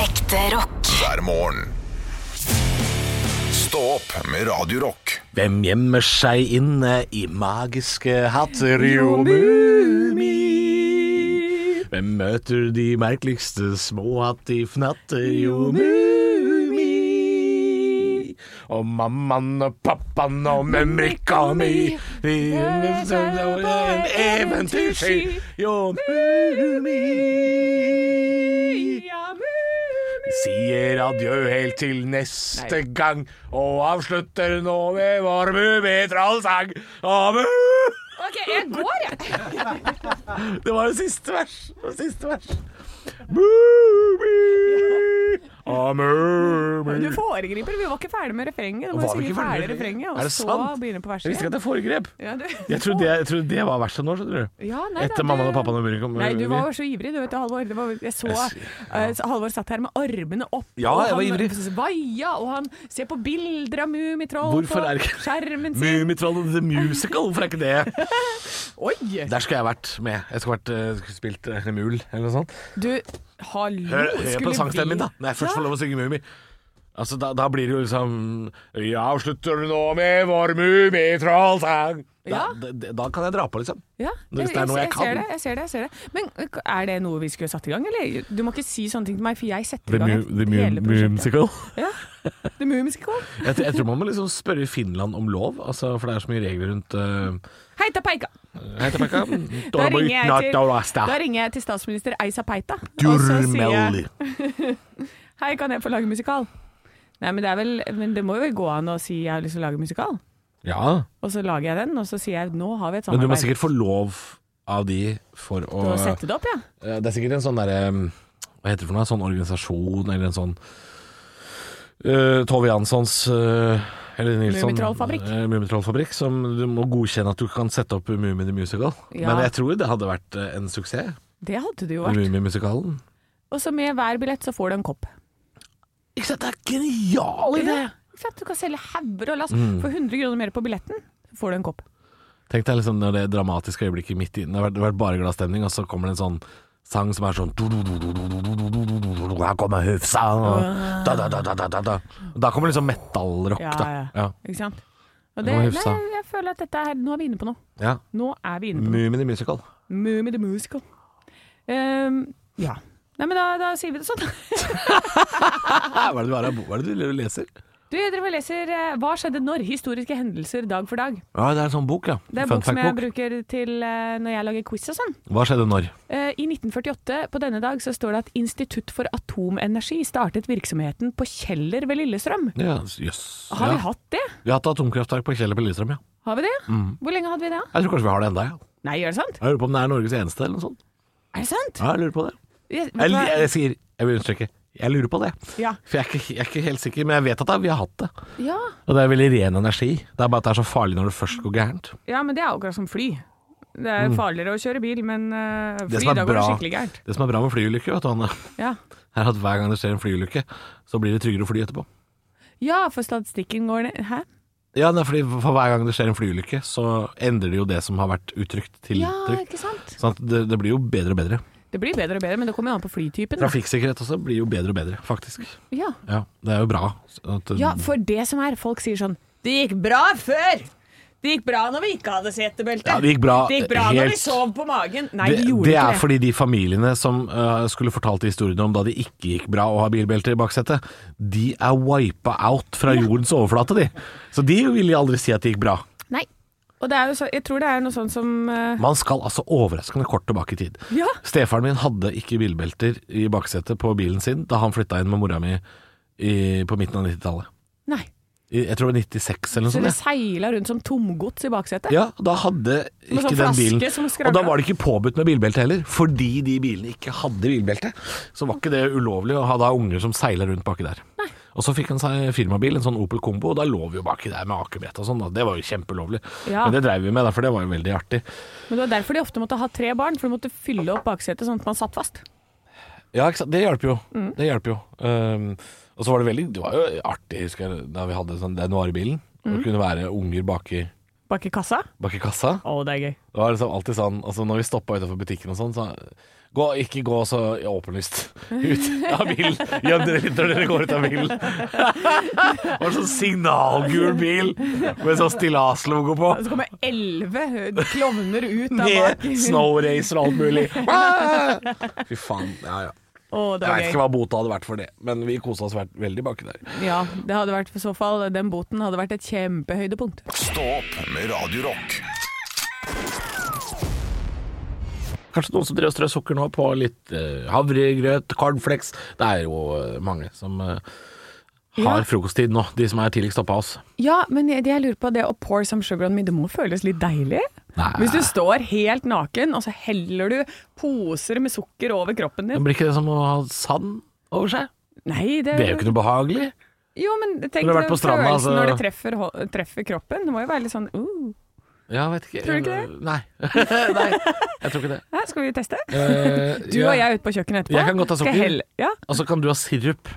Ekte rock. hver morgen. Stå opp med Radio Rock. Hvem gjemmer seg inne i magiske hatter og mumi? Hvem møter de merkeligste små hatt de fnatter jo mumi? Og mammaen og pappaen og mumrik og mi Vi løfter på en eventyrski jo mumi. Sier adjø helt til neste gang og avslutter nå med vår mumitrollsang. Og mu- Ok, jeg går, jeg. Det var jo siste vers. Det var siste vers. Mumi og mumi. Du foregriper. Vi var ikke ferdig med refrenget. Du Var må vi synge ikke ferdig med refrenget? ferdig refrenget, Er og det så sant? begynne på Jeg visste ikke verset. at jeg foregrep. Ja, du- Jeg trodde, jeg, trodde det var verset nå, skjønner du. Ja, nei, da, Etter du- mammaen og pappaen og muren kom. Nei, du var jo så ivrig, du vet du, Halvor. Det var, jeg så eh, så Halvor satt her med armene opp, Ja, og jeg var han ivrig. svaia, og han ser på bilder av Mummitroll på Hvorfor er ikke- skjermen sin. Mummitroll and the Musical, hvorfor er ikke det? Oi! Der skulle jeg vært med. Jeg skulle vært eh, skulle spilt eh, Mul eller noe sånt. Du, hallo Hør, hør på sangstemmen min, da. Når jeg først Ja. får lov å synge Mummi. Altså, da, da blir det jo liksom Jeg avslutter nå med vår Mummitrollsang. Da, Ja. da, da kan jeg dra på, liksom. Ja, Hvis det er noe jeg ser kan. det, jeg ser det, jeg ser det. Men eh, er det noe vi skulle satt i gang, eller? Du må ikke si sånne ting til meg, for jeg setter i gang et- hele prosjektet. Ja. The Mummical. Jeg, tror- jeg tror man må liksom spørre Finland om lov, altså, for det er så mye regler rundt uh, Heita peika! Hei til Pekka. Da ringer, jeg til, da ringer jeg til statsminister Eisa Peita. og så sier jeg, Durmelli. Hei, kan jeg få lage musikal? Nei, men det, er vel, men det må jo gå an å si jeg har lyst til å lage musikal. Ja, Og så lager jeg den, og så sier jeg nå har vi et men samarbeid. du må sikkert få lov av de for å Til å sette det opp, ja. Ja, Det er sikkert en sånn derre um, Hva heter det for noe? En sånn organisasjon eller en sånn uh, Tove Janssons uh, eller Nilsson Mummitrollfabrikk. eh, Mummitrollfabrikk. Som du må godkjenne at du kan sette opp Mummi the Musical. Ja. Men jeg tror det hadde vært eh, en suksess. Det hadde det jo vært. Mummimusikalen. Og så med hver billett så får du en kopp. Ikke sant, det er genial idé! Ja, ikke sant? Du kan selge hauger og lass. Mm. For 100 kroner mer på billetten, så får du en kopp. Tenk deg liksom når det dramatiske øyeblikket midt i Det har vært, det har vært bare glad stemning, og så kommer det en sånn sang som er sånn Her kommer Hufsa og da, da, da, da, da, da, da. Og da kommer liksom metallrock, Ja, da. ja. Ja. Ikke sant? Og Det det, var nei, hyfsa. jeg føler at dette er Nå er vi inne på noe. ja. Nå er vi inne på noe. Mumien i musical. Moomy the Musical. Ehm, ja. Nei, men da, da sier vi det sånn. hva, er det du har av bo- hva er det du leser? Du, dere leser eh, Hva skjedde når? Historiske hendelser dag for dag. Ja, Det er en sånn bok, ja. Det er Fun bok som jeg fact-bok. bruker til eh, når jeg lager quiz og sånn. Hva skjedde når? Eh, I 1948 på denne dag så står det at Institutt for atomenergi startet virksomheten på Kjeller ved Lillestrøm. Ja, Jøss. Har vi Ja. hatt det? Vi har hatt atomkraftverk på Kjeller på Lillestrøm, ja. Har vi det? Mm. Hvor lenge hadde vi det? da? Jeg tror kanskje vi har det enda, ja. Nei, er det sant? Jeg lurer på om det er Norges eneste eller noe sånt. Er det sant? Ja, jeg lurer på det. Jeg, vet Jeg, du hva? jeg, jeg sier Jeg vil understreke. Jeg lurer på det. Ja. For jeg er, ikke, jeg er ikke helt sikker, men jeg vet at det, vi har hatt det. ja. Og det er veldig ren energi. Det er bare at det er så farlig når det først går gærent. ja, men det er akkurat som fly. Det er farligere å kjøre bil, men eh, Mm. Det fly, som er da går det bra- skikkelig gærent. Det som er bra med flyulykker, vet du, Anne, Ja. er at hver gang det skjer en flyulykke, så blir det tryggere å fly etterpå. ja, for statistikken går ned. Mm, Hæ? Ja, nei, fordi For hver gang det skjer en flyulykke, så endrer det jo det som har vært utrygt, til Ja, trygt. ikke sant? Sånn at det, det blir jo bedre og bedre. Det blir bedre og bedre, men det kommer jo an på flytypen. da. Trafikksikkerhet også blir jo bedre og bedre, faktisk. Ja. Ja, Det er jo bra. Sånn At, ja, for det som er, folk sier sånn Det gikk bra før! Det gikk bra når vi ikke hadde setebelte. Ja, det gikk bra, Det gikk bra når helt- vi sov på magen. Nei, det, det, gjorde det ikke er det. fordi de familiene som øh, skulle fortalt historiene om da det ikke gikk bra å ha bilbelter i baksetet, de er wipa out fra jordens overflate, de. Så de vil aldri si at det gikk bra. Nei. Og det er jo så, jeg tror det er noe sånn som eh, Man skal altså overraskende kort tilbake i tid. Ja. Stefaren min hadde ikke bilbelter i baksetet på bilen sin da han flytta inn med mora mi i, på midten av 90-tallet. Nei. I- Jeg tror det var 96 eller noe Så sånt. Sånn, det ja. seila rundt som tomgods i baksetet? Ja, da hadde ikke Med sånn den flaske bilen som Og skravla. da var det ikke påbudt med bilbelte heller, fordi de bilene ikke hadde bilbelte. Så var ikke det ulovlig å ha da unger som seila rundt baki der. Og så fikk han seg firmabil, en sånn Opel Combo, og da lå vi jo baki der med akebrett og sånn. da. Det var jo kjempeulovlig. Ja. Men det dreiv vi med, da, for det var jo veldig artig. Men det var derfor de ofte måtte ha tre barn, for de måtte fylle opp baksetet sånn at man satt fast. Ja, ikke sant? Det hjelper jo. Mm. Det hjelper jo. Um, og Mm. så var det veldig Det var jo artig, husker jeg, da vi hadde sånn den varebilen. Å kunne være unger baki Bak i kassa? bak i kassa. Å, det er gøy. Det var liksom alltid sånn altså Når vi stoppa utafor butikken og sånn, så gå, Ikke gå så åpenlyst ut av bilen. Gjem dere litt når dere går ut av bilen. det var sånn signalgul bil med sånn stillaslogo på. Og så kommer elleve klovner ut av Med bak. Å, snow racer og alt mulig. Ah! Fy faen. Ja, ja. det Jeg vet er ikke gøy. hva bota hadde vært for det, men vi kosa oss vært- veldig baki der. Ja, det hadde vært i så fall Den boten hadde vært et kjempehøydepunkt. Stå opp med Radio Rock. Kanskje noen som drev og strø sukker nå på litt eh, havregrøt, cornflakes Det er jo eh, mange som eh, har Ja. frokosttid nå, de som er tidligst oppe av oss. Ja, men det jeg lurer på, det å pour some sugar on me, det må føles litt deilig? Nei. Hvis du står helt naken, og så heller du poser med sukker over kroppen Men din. blir ikke det som å ha sand over seg? Nei, det, Det er jo ikke noe behagelig. Jo, men tenk Eller vært deg på stranda, følelsen altså. når det treffer, ho- treffer kroppen. Det må jo være litt sånn uh. Ja, jeg vet ikke. Tror du ikke det? Nei. Nei, jeg tror ikke det. Hæ, skal vi teste? Eh, Du ja. og jeg er ute på kjøkkenet etterpå. Jeg kan godt ta Skal sukker. helle- Ja, Og så kan du ha sirup.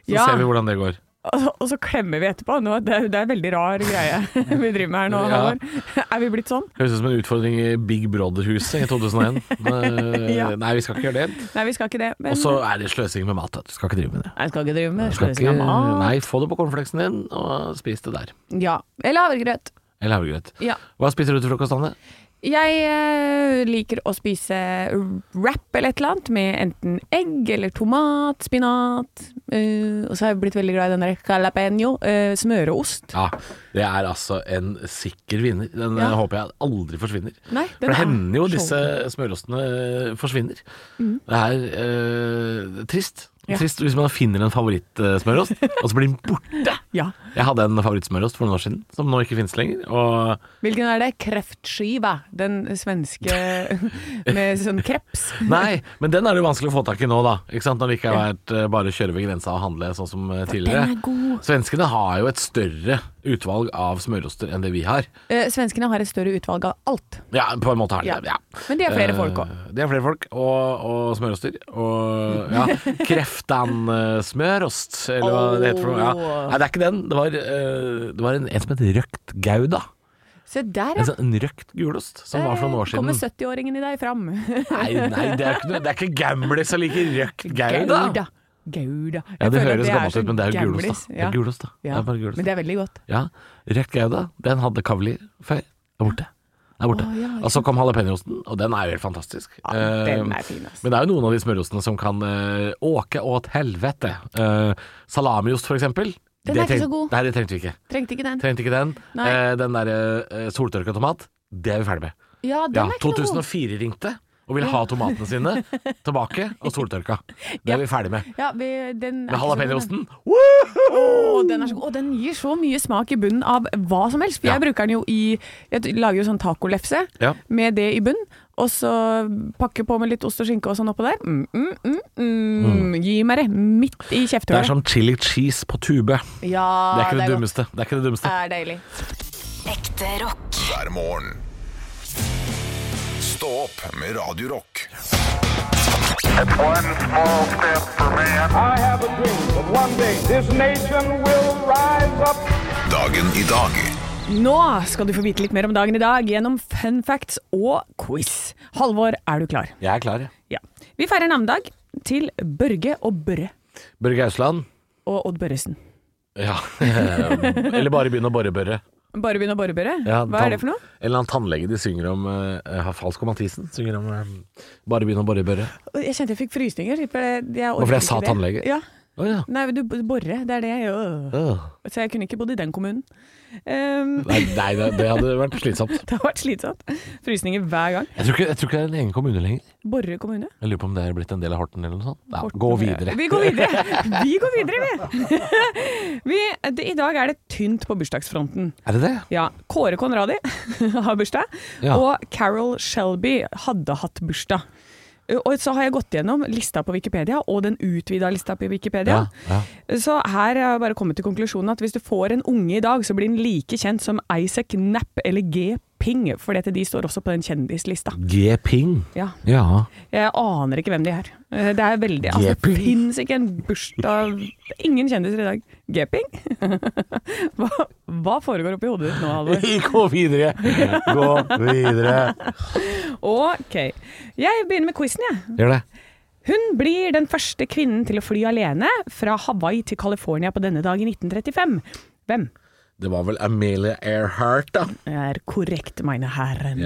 Så Ja. ser vi hvordan det går. og, og så klemmer vi etterpå. Nå, det, er- det er en veldig rar greie vi driver med her nå, Ja. Halvor. Er vi blitt sånn? Høres ut som en utfordring i Big Brother-huset i 2001. Eh, Ja. Nei, vi skal ikke gjøre det. Nei, vi skal ikke det. Men Og så er det sløsing med mat. vet Du Vi skal ikke drive med det. Nei, jeg skal ikke drive med Du skal sløsing av ikke- mat. Nei, få det på cornflakesen din, og spis det der. Ja. Eller havregrøt. Eller havregrøt. Ja. Hva spiser du til frokost, Anne? Jeg eh, liker å spise wrap eller et eller annet med enten egg eller tomat, spinat. eh, og så har jeg blitt veldig glad i den der jalapeño, eh, smøreost. Ja, det er altså en sikker vinner. Den Ja. eh, håper jeg aldri forsvinner. Nei, For den det er hender jo så disse smørostene eh, forsvinner. Det er eh, trist. Mm. Ja. Trist hvis man finner en favorittsmørost, og så blir den borte. Ja. Jeg hadde en favorittsmørost for noen år siden, som nå ikke finnes lenger. Og Hvilken er det? Kreftskiva. Den svenske med sånn kreps. nei, men den er det jo vanskelig å få tak i nå, da. Ikke sant? Når det ikke har vært eh, bare å kjøre ved grensa og handle sånn som eh, Den tidligere. er god. Svenskene har jo et større utvalg av smøroster enn det vi har. Eh, svenskene har et større utvalg av alt. Ja, på en måte har de Ja. det. Ja. Men de har flere Eh, folk òg. Det er flere folk, og, og smøroster. Og ja, kreftan eh, smørost, eller hva det heter for noe. Ja. Åh. Nei, det er ikke den. Det var, eh, det var en, en som het røkt gouda. Se der, En, ja. sånn- en røkt gulost, som var for noen år Der Kommer siden. 70-åringen i deg fram. Nei, nei, det er ikke, noe- det er ikke gamlis som liker røkt gouda. Gouda. Gouda. Jeg Ja, det føler at høres gammelt så ut, men det er jo gulost, gamlis. da. Det Ja. er gulost, da. Det Ja. er bare gulost. Men det er veldig godt. Ja, røkt gouda, den hadde kavalier før. Det er borte. Det er borte. Å, ja, ikke og så kom jalapeñoosten, og den er jo helt fantastisk. Ja, den Eh, er fin, altså. ass. Men det er jo noen av de smørostene som kan eh, åke åt helvete. Eh, salamiost, for eksempel. Den Det er ikke treng- så god. Nei, det trengte vi ikke. Trengte ikke den. Trengte ikke den. Nei. Eh, den derre eh, soltørka tomat, det er vi ferdig med. Ja, den Ja, er ikke noe god. 2004 ringte og ville ha tomatene sine tilbake, og soltørka. Det er vi ferdig med. Ja, vi, Men den er ikke så god, den. jalapeñoosten Å, den, er så god. Å, den gir så mye smak i bunnen av hva som helst. For Ja. jeg bruker den jo i Jeg lager jo sånn tacolefse Ja. med det i bunn. Og så pakker på med litt ost og skinke og sånn oppå der. Mm, mm, mm, mm. Gi meg det midt i Det er kjefthullet. som chili cheese på tube. Det Ja, er ikke det, godt. dummeste. Det er ikke det dummeste. Det er deilig. Ekte rock. hver morgen. Stå opp med Radio Rock. It's one small step for man. I have a dream that one day this nation will rise up. Dagen i dag Nå skal du få vite litt mer om dagen i dag gjennom fun facts og quiz. Halvor, er du klar? Jeg er klar, jeg. Ja. Vi feirer navnedag til Børge og Børre Børge Ausland. og Odd Børresen. Ja. Eller bare begynne å borre børre. Bare begynn å bare børre. Ja, Hva tann- er det for noe? En eller annen tannlege de synger om eh, har Falsk og Mathisen synger om eh, Bare begynn å borre i børre. Jeg kjente jeg fikk frysninger. for det- Jeg Hvorfor jeg sa tannlege? Ja. Å ja. Nei, du borre. Det er det. Øh. Øh. Så jeg kunne ikke bodd i den kommunen. Ehm, Nei, nei det, det hadde vært slitsomt. det har vært slitsomt. Frysninger hver gang. Jeg tror, ikke, jeg tror ikke det er en egen kommune lenger. Borre kommune. Jeg lurer på om det er blitt en del av Horten eller noe sånt. Ja, Horten. gå videre. Vi går videre, vi. Går videre, vi. vi det, I dag er det tynt på bursdagsfronten. Er det det? Ja, Kåre Conradi har bursdag, Ja. og Carol Shelby hadde hatt bursdag. Eh, Og så har jeg gått gjennom lista på Wikipedia, og den utvida lista på Wikipedia. Ja, Så her har jeg bare kommet til konklusjonen at hvis du får en unge i dag, så blir den like kjent som Isaac Knapp eller G. Ping, for dette, de står også på den kjendislista. G-ping. Ja. Ja. Jeg aner ikke hvem de er. Eh, Det er veldig altså, Det Geping. fins ikke en bursdag det er Ingen kjendiser i dag. Geping? Hva, hva foregår oppi hodet ditt nå, Halvor? Gå videre! Gå videre. Ok, jeg begynner med quizen, jeg. Gjør det. Hun blir den første kvinnen til å fly alene fra Hawaii til California på denne dag i 1935. Hvem? Det var vel Amelia Earhart, da. Er korrekt, meine herren.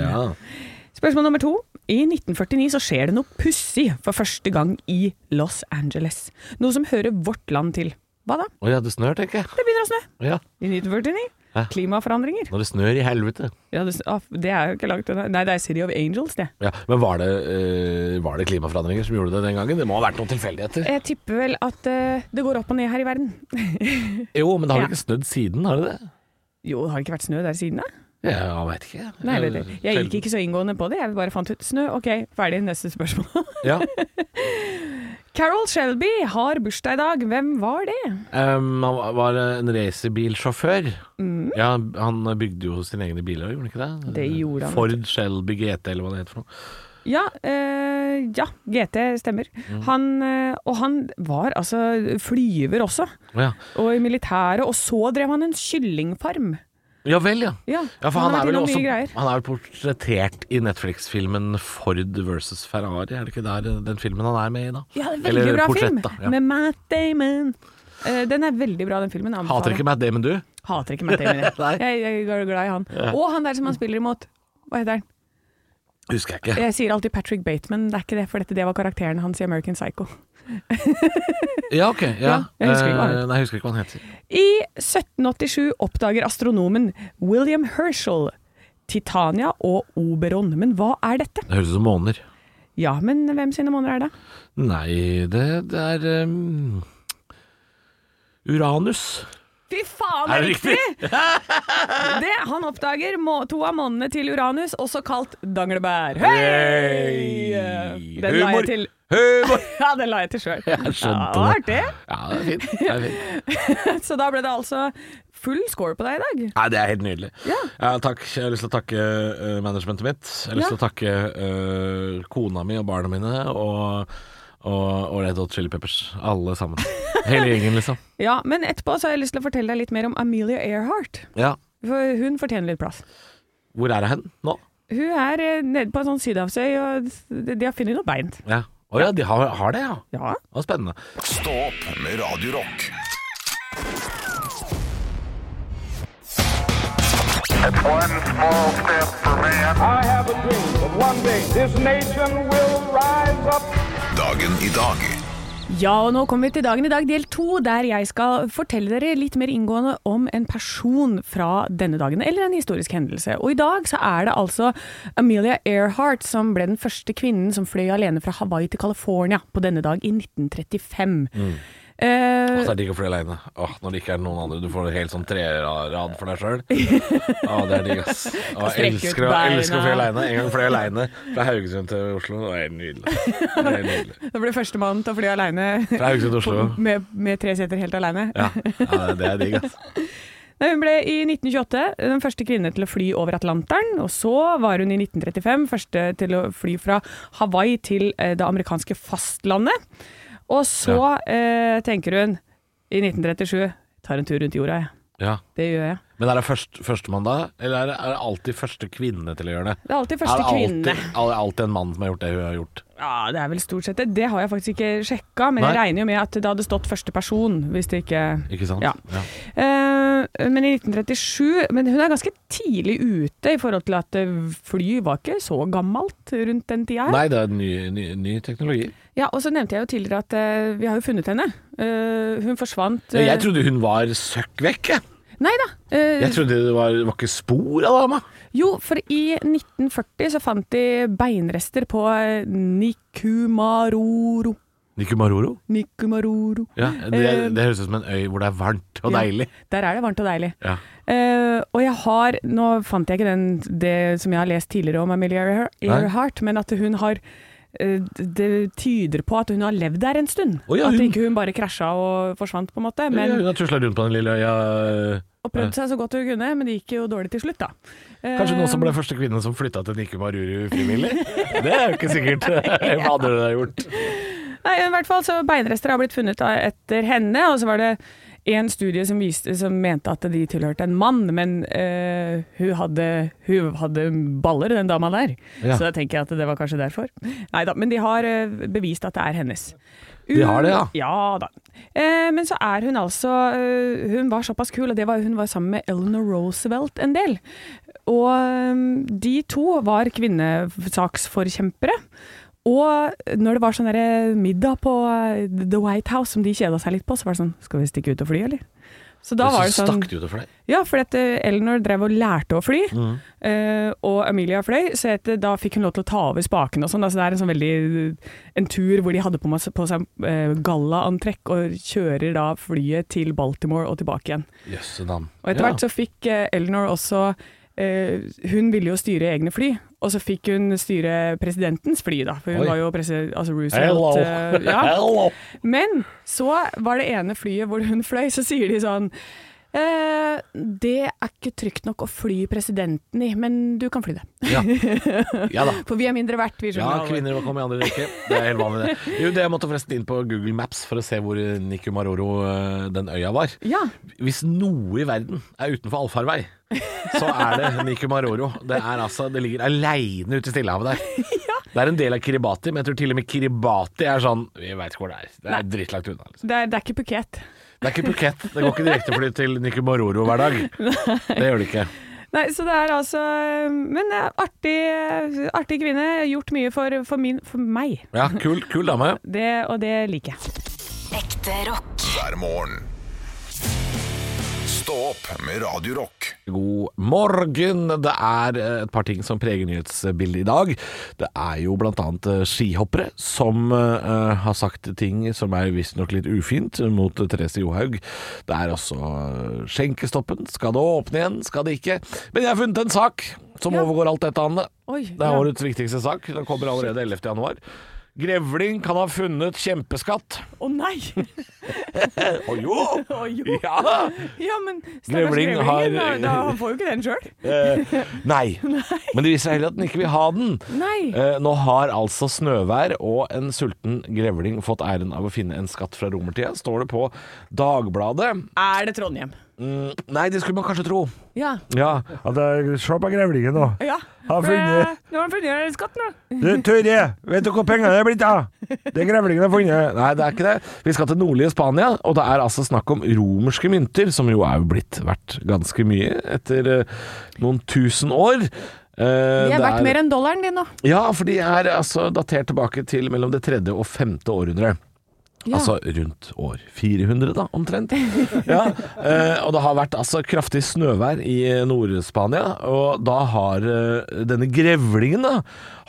Spørsmål nummer to. I 1949 så skjer det noe pussig for første gang i Los Angeles. Noe som hører vårt land til. Hva da? Å ja, det snør, tenker jeg. Det begynner å snø. Ja. I 1949. Hæ? Klimaforandringer. Når det snør i helvete. Ja, det, ah, det er jo ikke langt unna. Nei, det er City of Angels, det. Ja, men var det, eh, var det klimaforandringer som gjorde det den gangen? Det må ha vært noen tilfeldigheter. Jeg tipper vel at eh, det går opp og ned her i verden. Jo, men det har vel Ja. ikke snødd siden, har det det? Jo, har det ikke vært snø der siden, da? Ja, jeg veit ikke. Nei, jeg vet ikke. Jeg gikk ikke så inngående på det. Jeg bare fant ut snø. Ok, ferdig. Neste spørsmål. Ja. Carol Shelby har bursdag i dag. Hvem var det? Um, han var en racerbilsjåfør. Ja, han bygde jo sine egne biler, gjorde han ikke det? Mm. Det gjorde han. Ford Shelby GT, eller hva det heter for noe. Ja, eh, ja GT stemmer. Mm. Han, eh, og han var altså flyver også, Ja, og i militæret. Og så drev han en kyllingfarm. ja vel, ja. Ja, Ja, for han, har vært er vel innom også mye greier. Han er vel portrettert i Netflix-filmen Ford versus Ferrari, er det ikke der eh, den filmen han er med i da? Ja, det er veldig Eller bra portrett, film da, ja. med Matt Damon. Eh, den er veldig bra, den filmen. anbefaler Hater jeg. ikke Matt Damon, du? Hater ikke Matt Damon. Nei. Jeg, jeg, jeg er glad i han. Og han der som han spiller imot. Hva heter han? Husker jeg ikke. Jeg sier alltid Patrick Bateman, det er ikke det, for dette det var karakteren hans i American Psycho. Ja, ok. Ja. Ja, jeg husker ikke hva han Eh, Nei, jeg husker ikke hva han heter. I 1787 oppdager astronomen William Herschel Titania og Oberon. Men hva er dette? Det høres ut som måner. Ja, men hvem sine måneder er det? Nei, det, det er um, Uranus. Fy faen, Er det riktig? Det, han oppdager må, to av månedene til Uranus, også kalt danglebær. Hei! Den la jeg til. Humor! Ja, den la jeg til sjøl. Jeg skjønte Ja, det. artig. Ja, det er fint. Det er, fint. Så da ble det altså full score på deg i dag. Nei, det er helt nydelig. Ja. takk. Jeg har lyst til å takke eh, managementet mitt. Jeg har lyst til å takke eh, kona mi og barna mine og, og, og Red Hot Chili Peppers. Alle sammen. Hele gjengen, liksom. Ja, Men etterpå så har jeg lyst til å fortelle deg litt mer om Amelia Earhart. Ja. For hun fortjener litt plass. Hvor er jeg hen nå? Hun er eh, nede på en sånn sydhavsøy, og de de har funnet noe bein. Ja. Å ja, de har, har det, ja. Ja. Det var spennende. Stå opp med Radio Rock. It's one small step for man. I have a dream that one day this nation will rise up. Dagen i dag ja, og nå kommer vi til dagen i dag, del to, der jeg skal fortelle dere litt mer inngående om en person fra denne dagen, eller en historisk hendelse. Og i dag så er det altså Amelia Earhart som ble den første kvinnen som fløy alene fra Hawaii til California på denne dag i 1935. Eh, Så er det digg å fly alene. Åh, når det ikke er noen andre. Du får en helt sånn trerad for deg sjøl. Det er digg, ass. Åh, jeg Strekke ut elsker, å- jeg elsker å fly beina. aleine. En gang fløy jeg aleine fra Haugesund til Oslo. Det var helt nydelig. Det var helt nydelig. det ble førstemann til å fly aleine Fra Haugesund til Oslo. med, med tre seter helt aleine. Ja, ja det altså. er digg, ass. Nei, Hun ble i 1928 den første kvinne til å fly over Atlanteren, og så var hun i 1935 første til å fly fra Hawaii til eh, det amerikanske fastlandet. Og så eh, tenker hun i 1937 tar en tur rundt jorda, jeg. Ja. Det gjør jeg. Men er det først, førstemann da, eller er det, er det alltid første kvinne til å gjøre det? Det er alltid er første det alltid, kvinne. er det alltid en mann som har gjort det hun har gjort? Ja, Det er vel stort sett det. Det har jeg faktisk ikke sjekka, men jeg Nei. regner jo med at det hadde stått første person hvis det ikke Ikke sant? Ja. Eh, men i 1937 Men hun er ganske tidlig ute i forhold til at eh, fly var ikke så gammelt rundt den tida. her. Nei, det er ny, ny, ny teknologi. Ja, og så nevnte jeg jo tidligere at eh, vi har jo funnet henne. Eh, hun forsvant eh, Jeg trodde hun var søkk vekk, jeg. Nei da. eh, Jeg trodde det var, var ikke spor av dama. jo, for i 1940 så fant de beinrester på eh, Nikumaroro. Nikumaroro? Nikumaroro. Ja, det, det høres ut som en øy hvor det er varmt og Eh. Ja, deilig. Der er det varmt og deilig. Ja. Eh, og jeg har Nå fant jeg ikke den, det som jeg har lest tidligere om Amelia Earhart, Nei. Earhart, men at hun har eh, Det tyder på at hun har levd der en stund. Å ja, at hun- ikke hun bare krasja og forsvant, på en måte. Men ja, hun har tusla rundt på den lille øya og prøvd seg så godt hun kunne, men det gikk jo dårlig til slutt, da. Kanskje hun også Eh. ble første kvinne som flytta til Nikke Maruru frivillig? Det er jo ikke sikkert. Hva hadde du da gjort? Nei, i hvert fall så beinrester har blitt funnet av- etter henne, og så var det en studie som, viste, som mente at de tilhørte en mann, men eh, hun, hadde, hun hadde baller, den dama der. Ja. Så da tenker jeg at det var kanskje derfor. Nei da, men de har eh, bevist at det er hennes. De har det, ja. Ja da. Eh, men så er hun altså eh, Hun var såpass kul, og det var hun var sammen med Eleanor Roosevelt en del. Og eh, de to var kvinnesaksforkjempere. Og når det var sånn derre middag på eh, The White House som de kjeda seg litt på, så var det sånn Skal vi stikke ut og fly, eller? Så da var det sånn Stakk du ut for deg? Ja, for at eh, Eleanor drev og lærte å fly, Mm. eh, og Amelia fløy, så at, eh, da fikk hun lov til å ta over spakene og sånn. Altså, det er en sånn veldig en tur hvor de hadde på, masse, på seg eh, gallaantrekk og kjører da flyet til Baltimore og tilbake igjen. Jøsse navn. Og etter hvert så fikk eh, Eleanor også eh, Hun ville jo styre egne fly, og så fikk hun styre presidentens fly, da. For Oi. hun var jo presi- altså Hello. Roosevelt. eh, ja. Hello. Men så var det ene flyet hvor hun fløy, så sier de sånn Eh, det er ikke trygt nok å fly presidenten i, men du kan fly det. Ja. ja da. For vi er mindre verdt, vi Ja, skjønner. alle. kvinner må komme i andre rekke. Det er helt vanlig, det. Jo, det jeg måtte forresten inn på Google Maps for å se hvor eh, Nikku Maroro, eh, den øya, var. Ja. Hvis noe i verden er utenfor allfarvei, så er det Nikku Maroro. Det, er altså, det ligger aleine ute i Stillehavet der. Det er en del av Kiribati, men jeg tror til og med Kiribati er sånn Vi veit ikke hvor det er. Det er drittlagt unna. Liksom. Det er, det er ikke Phuket. Det er ikke Phuket. Det går ikke direktefly til Nikku Maroro hver dag. Det gjør det ikke. Nei, så det er altså Men det er artig, artig kvinne. Gjort mye for, for, min, for meg. Ja, kul, kul dame. Det, og det liker jeg. Ekte rock. hver morgen. Stå opp med Radio Rock. God morgen. Det er eh, et par ting som preger nyhetsbildet i dag. Det er jo bl.a. skihoppere som eh, har sagt ting som er visstnok litt ufint mot Therese Johaug. Det er også eh, skjenkestoppen. Skal det åpne igjen? Skal det ikke? Men jeg har funnet en sak som overgår alt dette, Anne. Oi, det er ja. årets viktigste sak. Den kommer allerede 11. januar. Grevling kan ha funnet kjempeskatt. Å nei! Å jo! Å jo! Ja! Ja, men stakkars Grevling grevlingen, har- da, da, han får jo ikke den sjøl. Eh, nei. Men det viser seg heller at den ikke vil ha den. Nei. Eh, nå har altså snøvær og en sulten grevling fått æren av å finne en skatt fra romertida, står det på Dagbladet. Er det Trondheim? Mm, nei, det skulle man kanskje tro. Ja. Ja. Se på grevlingen nå. ja. Har For, funnet- eh, Nå har han funnet skatten, da. Du, Tørre, vet du hvor pengene er blitt av? Det grevlingen har funnet. Nei, det er ikke det. Vi skal til nordlige Spania, og det er altså snakk om romerske mynter, som jo er jo blitt verdt ganske mye etter eh, noen tusen år. Eh, De det er verdt er- mer enn dollaren din nå. Ja, for de er altså datert tilbake til mellom det tredje og femte århundre. Ja. Altså rundt år 400, da, omtrent. Ja, eh, og det har vært altså kraftig snøvær i eh, Nord-Spania. Og da har eh, denne grevlingen da,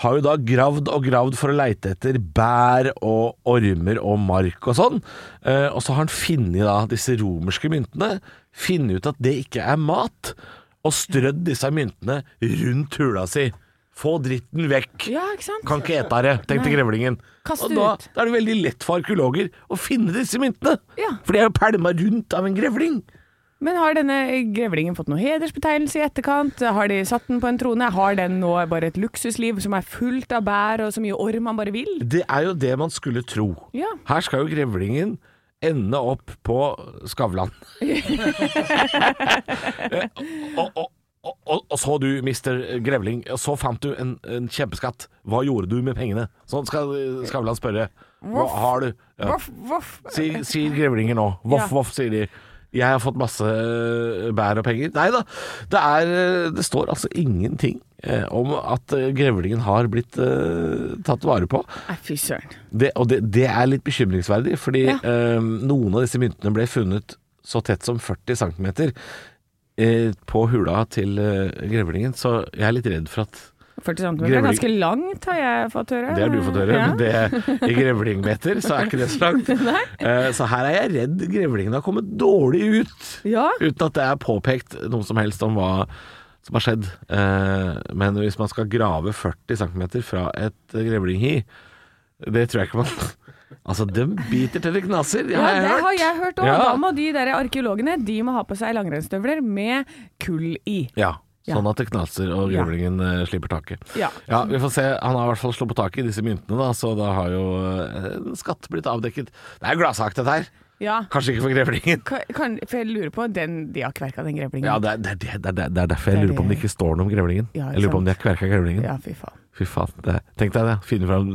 har jo da gravd og gravd for å leite etter bær og ormer og mark og sånn. Eh, og så har han funnet da disse romerske myntene. Funnet ut at det ikke er mat. Og strødd disse myntene rundt hula si. Få dritten vekk. Ja, ikke sant? Kan ikke ete det, tenkte Nei. grevlingen. Kast og det da, ut. da er det veldig lett for arkeologer å finne disse myntene. Ja. For de er jo pælma rundt av en grevling. Men har denne grevlingen fått noen hedersbetegnelse i etterkant? Har de satt den på en trone? Har den nå bare et luksusliv som er fullt av bær og så mye orm man bare vil? Det er jo det man skulle tro. Ja. Her skal jo grevlingen ende opp på Skavlan. Eh, og, og, og, og, og så du, mister Grevling, og så fant du en, en kjempeskatt. Hva gjorde du med pengene? Sånn skal eh, Skavlan spørre. Hva Voff. har du? Ja. Voff, voff. sier, sier grevlinger nå. Voff, Ja. voff, sier de. Jeg har fått masse øh, bær og penger. Nei da, det, er, øh, det står altså ingenting eh, om at eh, grevlingen har blitt eh, tatt vare på. Nei, fy søren. Det, og det, det er litt bekymringsverdig, fordi Ja. eh, noen av disse myntene ble funnet så tett som 40 cm på hula til eh, grevlingen, så jeg er litt redd for at 40 cm er Grevling- ganske langt, har jeg fått høre. det har du fått høre, Ja. men det, i grevlingmeter så er ikke det så langt. Eh, Så her er jeg redd grevlingen har kommet dårlig ut, Ja. uten at det er påpekt noe som helst om hva som har skjedd. Eh, Men hvis man skal grave 40 cm fra et grevlinghi, det tror jeg ikke man Altså, de biter til det knaser. Det Ja, har jeg det hørt. har jeg hørt òg. Ja. Da må de der arkeologene De må ha på seg langrennsstøvler med kull i. Ja, Ja. sånn at det knaser og Ja. grevlingen eh, slipper taket. Ja. Vi får se. Han har i hvert fall sluppet taket i disse myntene, da, så da har jo eh, en skatt blitt avdekket. Det er jo gladsak, dette her. Ja. Kanskje ikke for grevlingen. Ka- Kan, for jeg lurer på den, De har kverka den grevlingen. Ja, det er, det, er, det, er, det er- det er derfor jeg Det er lurer på om det det. ikke står noe om grevlingen. Ja, ikke jeg lurer på om de har sant. kverka grevlingen. Ja, fy faen. Fy faen. Det, tenk deg det. Finne fram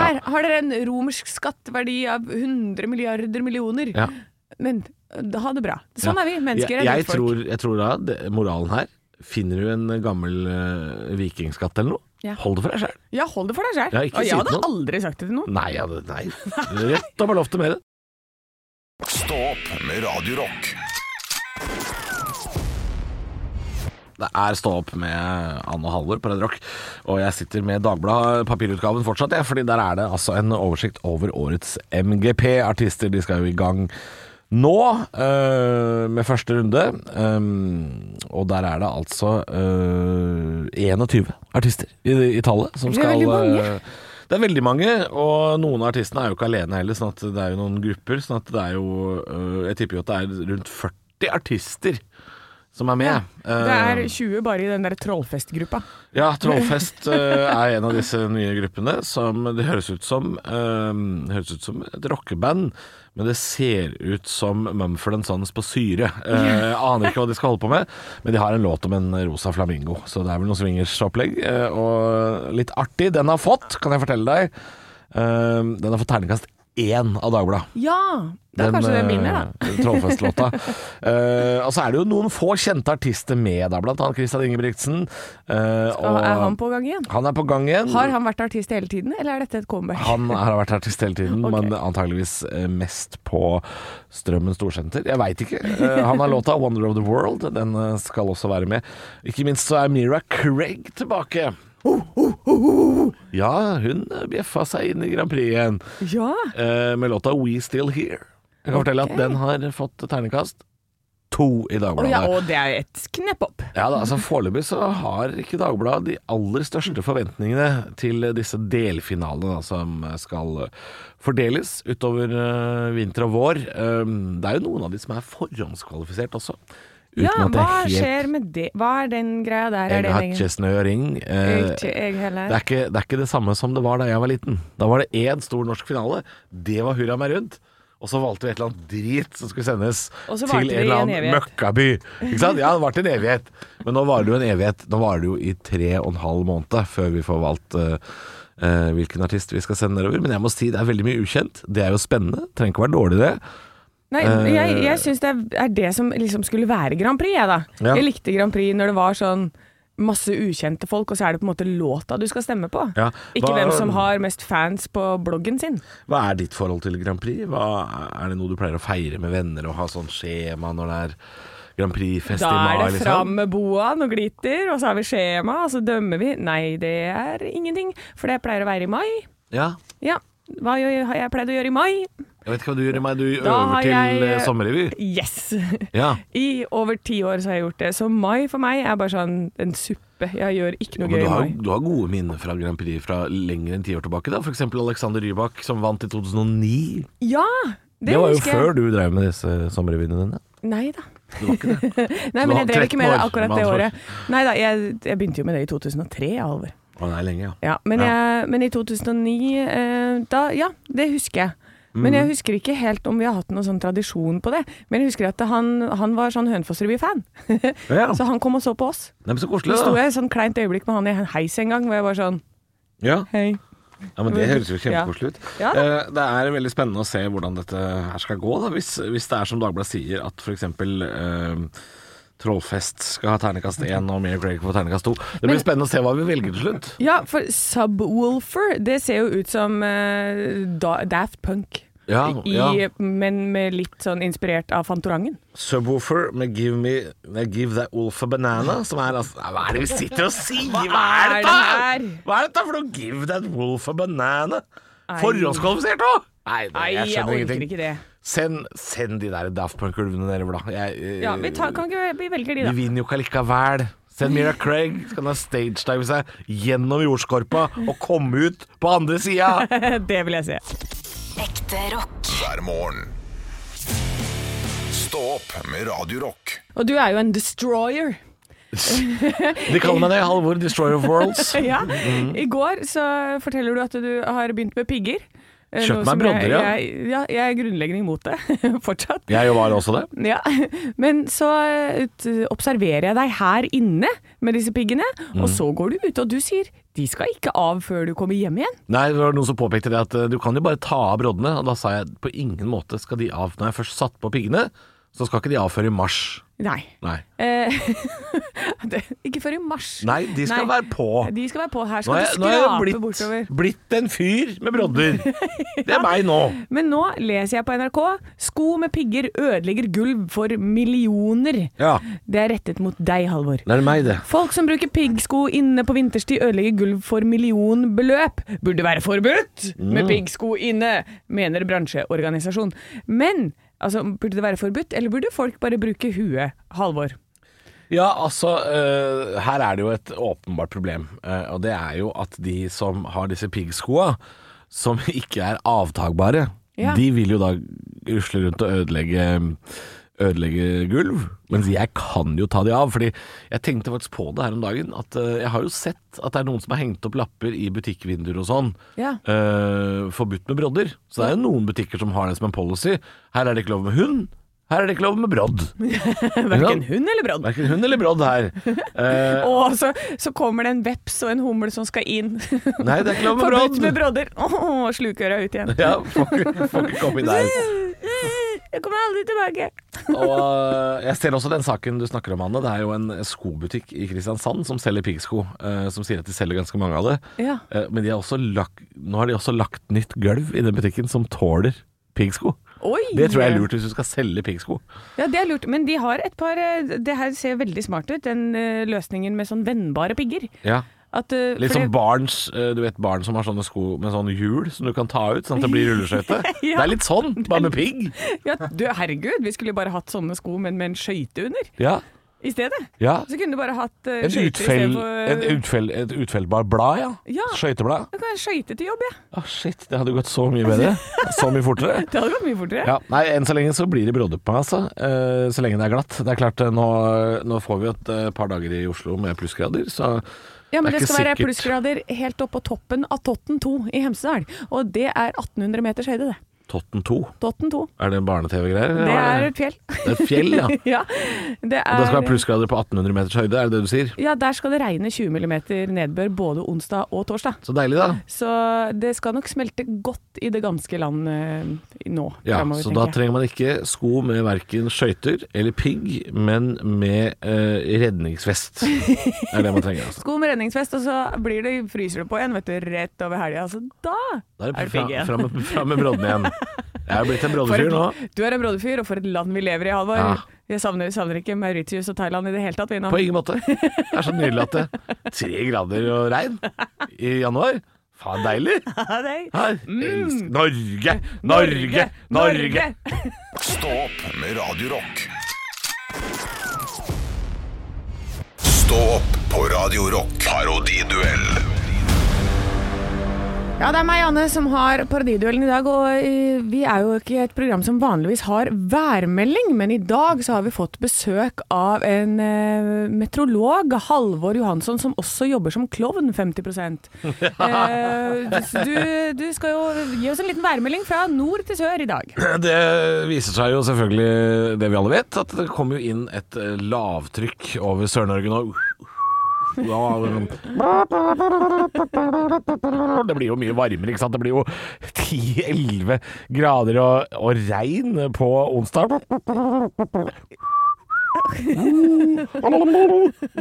Her har dere en romersk skatteverdi av 100 milliarder millioner. Ja. Men eh, ha det bra. Sånn Ja. er vi. Mennesker jeg, er jeg, litt folk. tror, jeg tror da det, moralen her Finner du en gammel eh, vikingskatt eller noe, Ja. hold det for deg sjøl. Ja, hold det for deg sjøl. Ja, ikke og si jeg det hadde til noen. aldri sagt det til noen. Nei, ja, det- nei. Rett opp og loftet med det. Stå opp med Radio Rock. Det er Stå opp med Anne og Halvor på Red Rock. Og jeg sitter med Dagbladet, papirutgaven fortsatt, jeg, fordi der er det altså en oversikt over årets MGP-artister. De skal jo i gang nå øh, med første runde. Ehm, og der er det altså øh, 21 artister i, i tallet som Det er skal veldig mange. øh, det er veldig mange, og noen av artistene er jo ikke alene heller, sånn at det er jo noen grupper. Sånn at det er jo øh, Jeg tipper jo at det er rundt 40 artister som er med. Det er Eh, 20 bare i den der trollfestgruppa. ja, Trollfest eh, er en av disse nye gruppene som det høres ut som, eh, det høres ut som et rockeband, men det ser ut som Mumford Sons på syre. Eh, aner ikke hva de skal holde på med, men de har en låt om en rosa flamingo, så det er vel noe swingersopplegg. eh, og litt artig, den har fått, kan jeg fortelle deg. Eh, den har fått terningkast én av Dagbladet. Ja! Da kanskje det vinner, da. eh, Trollfestlåta. Eh, og så er det jo noen få kjente artister med, da, blant annet Christian Ingebrigtsen. eh, Og og- er han på gang igjen? han er på gang igjen. Har han vært artist hele tiden, eller er dette et comeback? Han har vært artist hele tiden, Ok. men antageligvis eh, mest på Strømmen storsenter. Jeg veit ikke. Eh, Han har låta 'Wonder of the World'. Den eh, skal også være med. Ikke minst så er Mira Craig tilbake. Ja, hun bjeffa seg inn i Grand Prix igjen Ja! eh, med låta 'We Still Here'. Jeg kan fortelle at Ok. den har fått terningkast to i Å ja, Dagbladet. og det er et knepp opp. Ja da, altså Foreløpig så har ikke Dagbladet de aller største forventningene til disse delfinalene da, som skal fordeles utover eh, vinter og vår. Um, det er jo noen av de som er forhåndskvalifisert også. Uten Ja, at det hva er helt skjer med det? Hva er den greia der? Er Jeg det har lenger? ikke snøring. eh, Jeg- ikke jeg det, er heller. ikke, det er ikke det samme som det var da jeg var liten. Da var det én stor norsk finale. Det var hurra meg rundt. Og så valgte vi et eller annet drit som skulle sendes Og så til varte det en i eller en annen evighet. møkkaby. Ikke sant? Ja, det varte en evighet. Men nå varer det jo en evighet. Nå varer det jo i tre og en halv måned før vi får valgt eh, eh, hvilken artist vi skal sende nedover. Men jeg må si det er veldig mye ukjent. Det er jo spennende. Trenger ikke være dårlig, det. Nei, eh, jeg, jeg syns det er- er det som liksom skulle være Grand Prix, jeg da. Ja. Jeg likte Grand Prix når det var sånn masse ukjente folk, og så er det på en måte låta du skal stemme på. Ja. Ikke Hva- hvem som har mest fans på bloggen sin. Hva er ditt forhold til Grand Prix? Hva, er det noe du pleier å feire med venner og ha sånn skjema når det er Grand Prix-fest i mai? Da er det fram liksom? med boaen og glitter, og så har vi skjema, og så dømmer vi. Nei, det er ingenting, for det pleier å være i mai. Ja. Ja, hva gjør- har jeg pleid å gjøre i mai? Jeg vet ikke hva du gjør i meg. Du Da øver har til jeg- eh, sommerrevy. Yes! Ja. I over ti år så har jeg gjort det, så mai for meg er bare sånn en suppe. Jeg gjør ikke noe Men gøy du i har, mai. du har gode minner fra Grand Prix fra lenger enn ti år tilbake. da F.eks. Alexander Rybak som vant i 2009. Ja! Det, var jo husker jeg. før du drev med disse sommerrevyene dine. Nei da. Det var ikke det. Nei, Du men var jeg drev ikke 13 med det år, akkurat med det andre ord. året. Nei da, jeg, jeg begynte jo med det i 2003, jeg, Halvor. Å, det er lenge, ja. Ja, men, Ja. Jeg, men i 2009, eh, da Ja, det husker jeg. Men Mm. jeg husker ikke helt om vi har hatt noen sånn tradisjon på det. Men jeg husker at han, han var sånn Hønefoss-revy-fan. Ja. så han kom og så på oss. Nei, men så Så koselig, sto da. jeg i et sånn kleint øyeblikk med han i en heis en gang, hvor jeg var sånn Ja. Hei. Ja, men Det høres jo kjempekoselig ut. Ja. Ja da. Eh, Det er veldig spennende å se hvordan dette her skal gå, da. Hvis, hvis det er som Dagbladet sier, at f.eks. Eh, Trollfest skal ha terningkast én, og Mary Craig får terningkast to. Det blir Men- spennende å se hva vi velger til slutt. Ja, for Subwoolfer, det ser jo ut som eh, da Daft Punk. Ja, I, ja. Men med litt sånn inspirert av Fantorangen. Subwoofer med Give Me nei, Give That Wolf a Banana, som er altså Hva er det vi sitter og sier?! Hva er er dette?! det her? Hva er dette for noe Give That Wolf a Banana? Ei. Forhåndskvalifisert òg! Nei, nei, Nei, jeg jeg skjønner orker ingenting. ikke det. Send, send de der Daft Punk-ulvene nedover, da. Jeg, eh, Ja, vi tar, kan ikke vi velger de, Vi da? vinner jo ikke allikevel. Send Mira Craig, så kan hun stagedive seg gjennom jordskorpa og komme ut på andre sida. det vil jeg se. Ekte rock. hver morgen. Stå opp med Radio Rock. Og du er jo en destroyer. De kaller meg det, Halvor Destroyer of Worlds. Ja. Mhm. I går så forteller du at du har begynt med pigger. Eh, Kjøpt noe meg som jeg- brodder, ja. Jeg, ja. Jeg er grunnleggende imot det fortsatt. Jeg var også det. Ja, Men så eh, t- observerer jeg deg her inne med disse piggene, og Mm. så går du ut og du sier de skal ikke av før du kommer hjem igjen. Nei, det var noen som påpekte det at eh, du kan jo bare ta av broddene, og da sa jeg på ingen måte skal de av når jeg først satt på piggene, så skal ikke de av før i mars. Nei. Nei. Eh, det, ikke før i mars. Nei, de skal være på. De skal være på. Her Nå skal er du jeg, nå er skrape jeg blitt, bortover. blitt en fyr med brodder. Det er meg nå. Men nå leser jeg på NRK sko med pigger ødelegger gulv for millioner. Ja. Det er rettet mot deg, Halvor. Det er meg, det. Folk som bruker piggsko inne på vinterstid ødelegger gulv for millionbeløp. Burde være forbudt Mm. med piggsko inne, mener bransjeorganisasjon. Men altså, burde det være forbudt, eller burde folk bare bruke huet, Halvor? Ja, altså, eh, her er det jo et åpenbart problem, eh, og det er jo at de som har disse piggskoa, som ikke er avtagbare, Ja. de vil jo da rusle rundt og ødelegge, ødelegge gulv, mens jeg kan jo ta de av, fordi jeg tenkte faktisk på det her om dagen, at eh, jeg har jo sett at det er noen som har hengt opp lapper i butikkvinduer og sånn, Ja. eh, forbudt med brodder, så det er jo noen butikker som har det som en policy, her er det ikke lov med hund, her er det ikke lov med brodd. Verken hund eller brodd. Verken hund eller brodd her. Eh, Og så, så kommer det en veps og en humle som skal inn. nei, det er ikke lov med brodd. Forbudt med brodder. Åh, slukøra ut igjen. Ja, får ikke, får ikke komme inn der. Jeg kommer aldri tilbake. Og eh, jeg ser også den saken du snakker om, Anne. Det er jo en skobutikk i Kristiansand som selger piggsko. eh, som sier at de selger ganske mange av det. Ja. Eh, men de har også lagt, nå har de også lagt nytt gulv i den butikken som tåler piggsko. Oi! Det tror jeg er lurt hvis du skal selge piggsko. Ja, det er lurt. Men de har et par eh, Det her ser veldig smart ut, den eh, løsningen med sånn vennbare pigger. Ja. At, eh, Litt for som det- barns, eh, du vet barn som har sånne sko med sånn hjul som du kan ta ut sånn at det blir rulleskøyte. Ja. Det er litt sånn, bare med pigg. Ja, du, herregud, vi skulle jo bare hatt sånne sko, men med en skøyte under Ja. i stedet. Ja. Så kunne du bare hatt uh, En skøyter utfell, en istedenfor utfell, et utfellbar blad, ja. Ja. Skøyteblad. Jeg kan ha skøyte til jobb, jeg. Ja. Ah, shit, det hadde gått så mye bedre. Så mye fortere. Det hadde gått mye fortere. Ja, nei, Enn så lenge så blir det brodder på meg, altså. Eh, så lenge det er glatt. Det er klart, eh, nå, nå får vi jo et eh, par dager i Oslo med plussgrader, så Ja, men Det er det ikke skal være sikkert. plussgrader helt opp på toppen av Totten 2 i Hemsedal. Og det er 1800 meters høyde, det. Totten 2. Totten 2. Er det en barne-TV-greier? Det er et fjell. Det er et fjell, ja. Og ja, det er det skal være plussgrader på 1800 meters høyde, er det det du sier? Ja, der skal det regne 20 mm nedbør både onsdag og torsdag. Så deilig, da. Så det skal nok smelte godt i det ganske land eh, nå. Ja, fremover, Så tenker da jeg. trenger man ikke sko med verken skøyter eller pigg, men med eh, redningsvest. Det er det man trenger, altså. Sko med redningsvest, og så blir det, fryser det på igjen vet du, rett over helga. Altså, da Da er det, Er det fra, pigg igjen? fram, med- fram med brodden igjen. Jeg er blitt en For et- broddefyr nå. Du er en broderfyr, og for et land vi lever i, Halvor. Ja. Jeg savner, savner ikke Mauritius og Thailand i det hele tatt, vi nå. På ingen måte. Det er så nydelig at det tre grader og regn i januar. Faen, deilig. Ja, det er- Her. Elsker. Mm. Norge, Norge, Norge. Stå opp med Radio Rock. Stå opp på Radio Rock. Parodiduell. Ja, det er meg, Anne, som har parodiduellen i dag. Og eh, vi er jo ikke et program som vanligvis har værmelding, men i dag så har vi fått besøk av en eh, meteorolog, Halvor Johansson, som også jobber som klovn 50 eh, du, du skal jo gi oss en liten værmelding fra nord til sør i dag. Det viser seg jo selvfølgelig det vi alle vet, at det kommer jo inn et eh, lavtrykk over Sør-Norge nå. Ja, sånn- Det blir jo mye varmere, ikke sant? Det blir jo 10-11 grader og, og regn på onsdag.